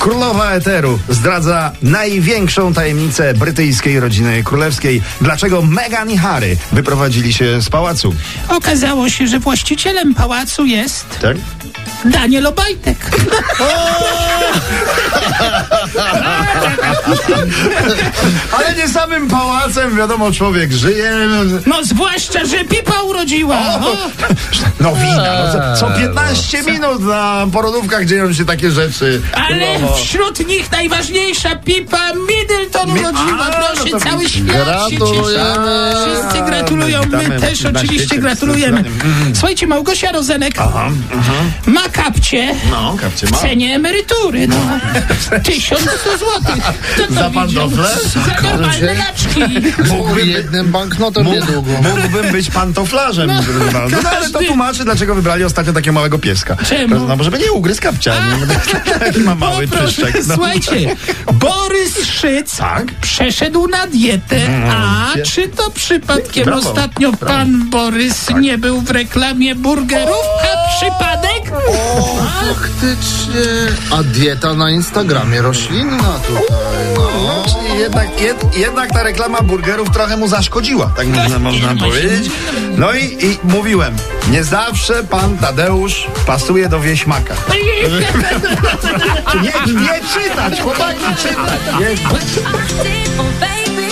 Królowa Eteru zdradza największą tajemnicę brytyjskiej rodziny królewskiej. Dlaczego Meghan i Harry wyprowadzili się z pałacu? Okazało się, że właścicielem pałacu jest Tak? Daniel Obajtek. Ale nie samym pałacem, wiadomo, człowiek żyje. No zwłaszcza, że Pipa urodziła. O, No wina, no, co, co 15 minut na porodówkach dzieją się takie rzeczy. No, ale Królowo. wśród nich najważniejsza Pipa Middleton Mi- urodziła. A, no Proszę, to cały widzisz. świat się cieszy. Gratulujemy. Wszyscy gratulują, Witamy my też na oczywiście świecie, gratulujemy. zdecydowanie. Słuchajcie, Małgosia Rozenek ma kapcie No, kapcie w mhm. ma. cenie emerytury. No. 1100 złotych. Kto to Za widział? pantofle? Za normalne laczki. Mógłbym być- jednym banknotem niedługo. Mógł, mógłbym być pantoflarzem, proszę pana. No, ale to każdy- tłumaczy, dlaczego wybrali ostatnio takiego małego pieska. Czemu? No, bo żeby nie ugryzł kapcia. nie? Taki ma mały Poproszę, pyszczek. No. Słuchajcie, Borys Szyc Tak? przeszedł na dietę, a gdzie? czy to przypadkiem Brawo, Tak. ostatnio pan Borys nie był w reklamie burgerów? A przypadek? Faktycznie. A dieta na Instagramie roślinna tutaj. No. Czyli jednak, jed, jednak ta reklama burgerów trochę mu zaszkodziła, tak można, można powiedzieć. No i, i mówiłem, nie zawsze pan Tadeusz pasuje do wieśmaka. Nie, nie czytać, chłopaki, czytać. Nie, What's possible, baby?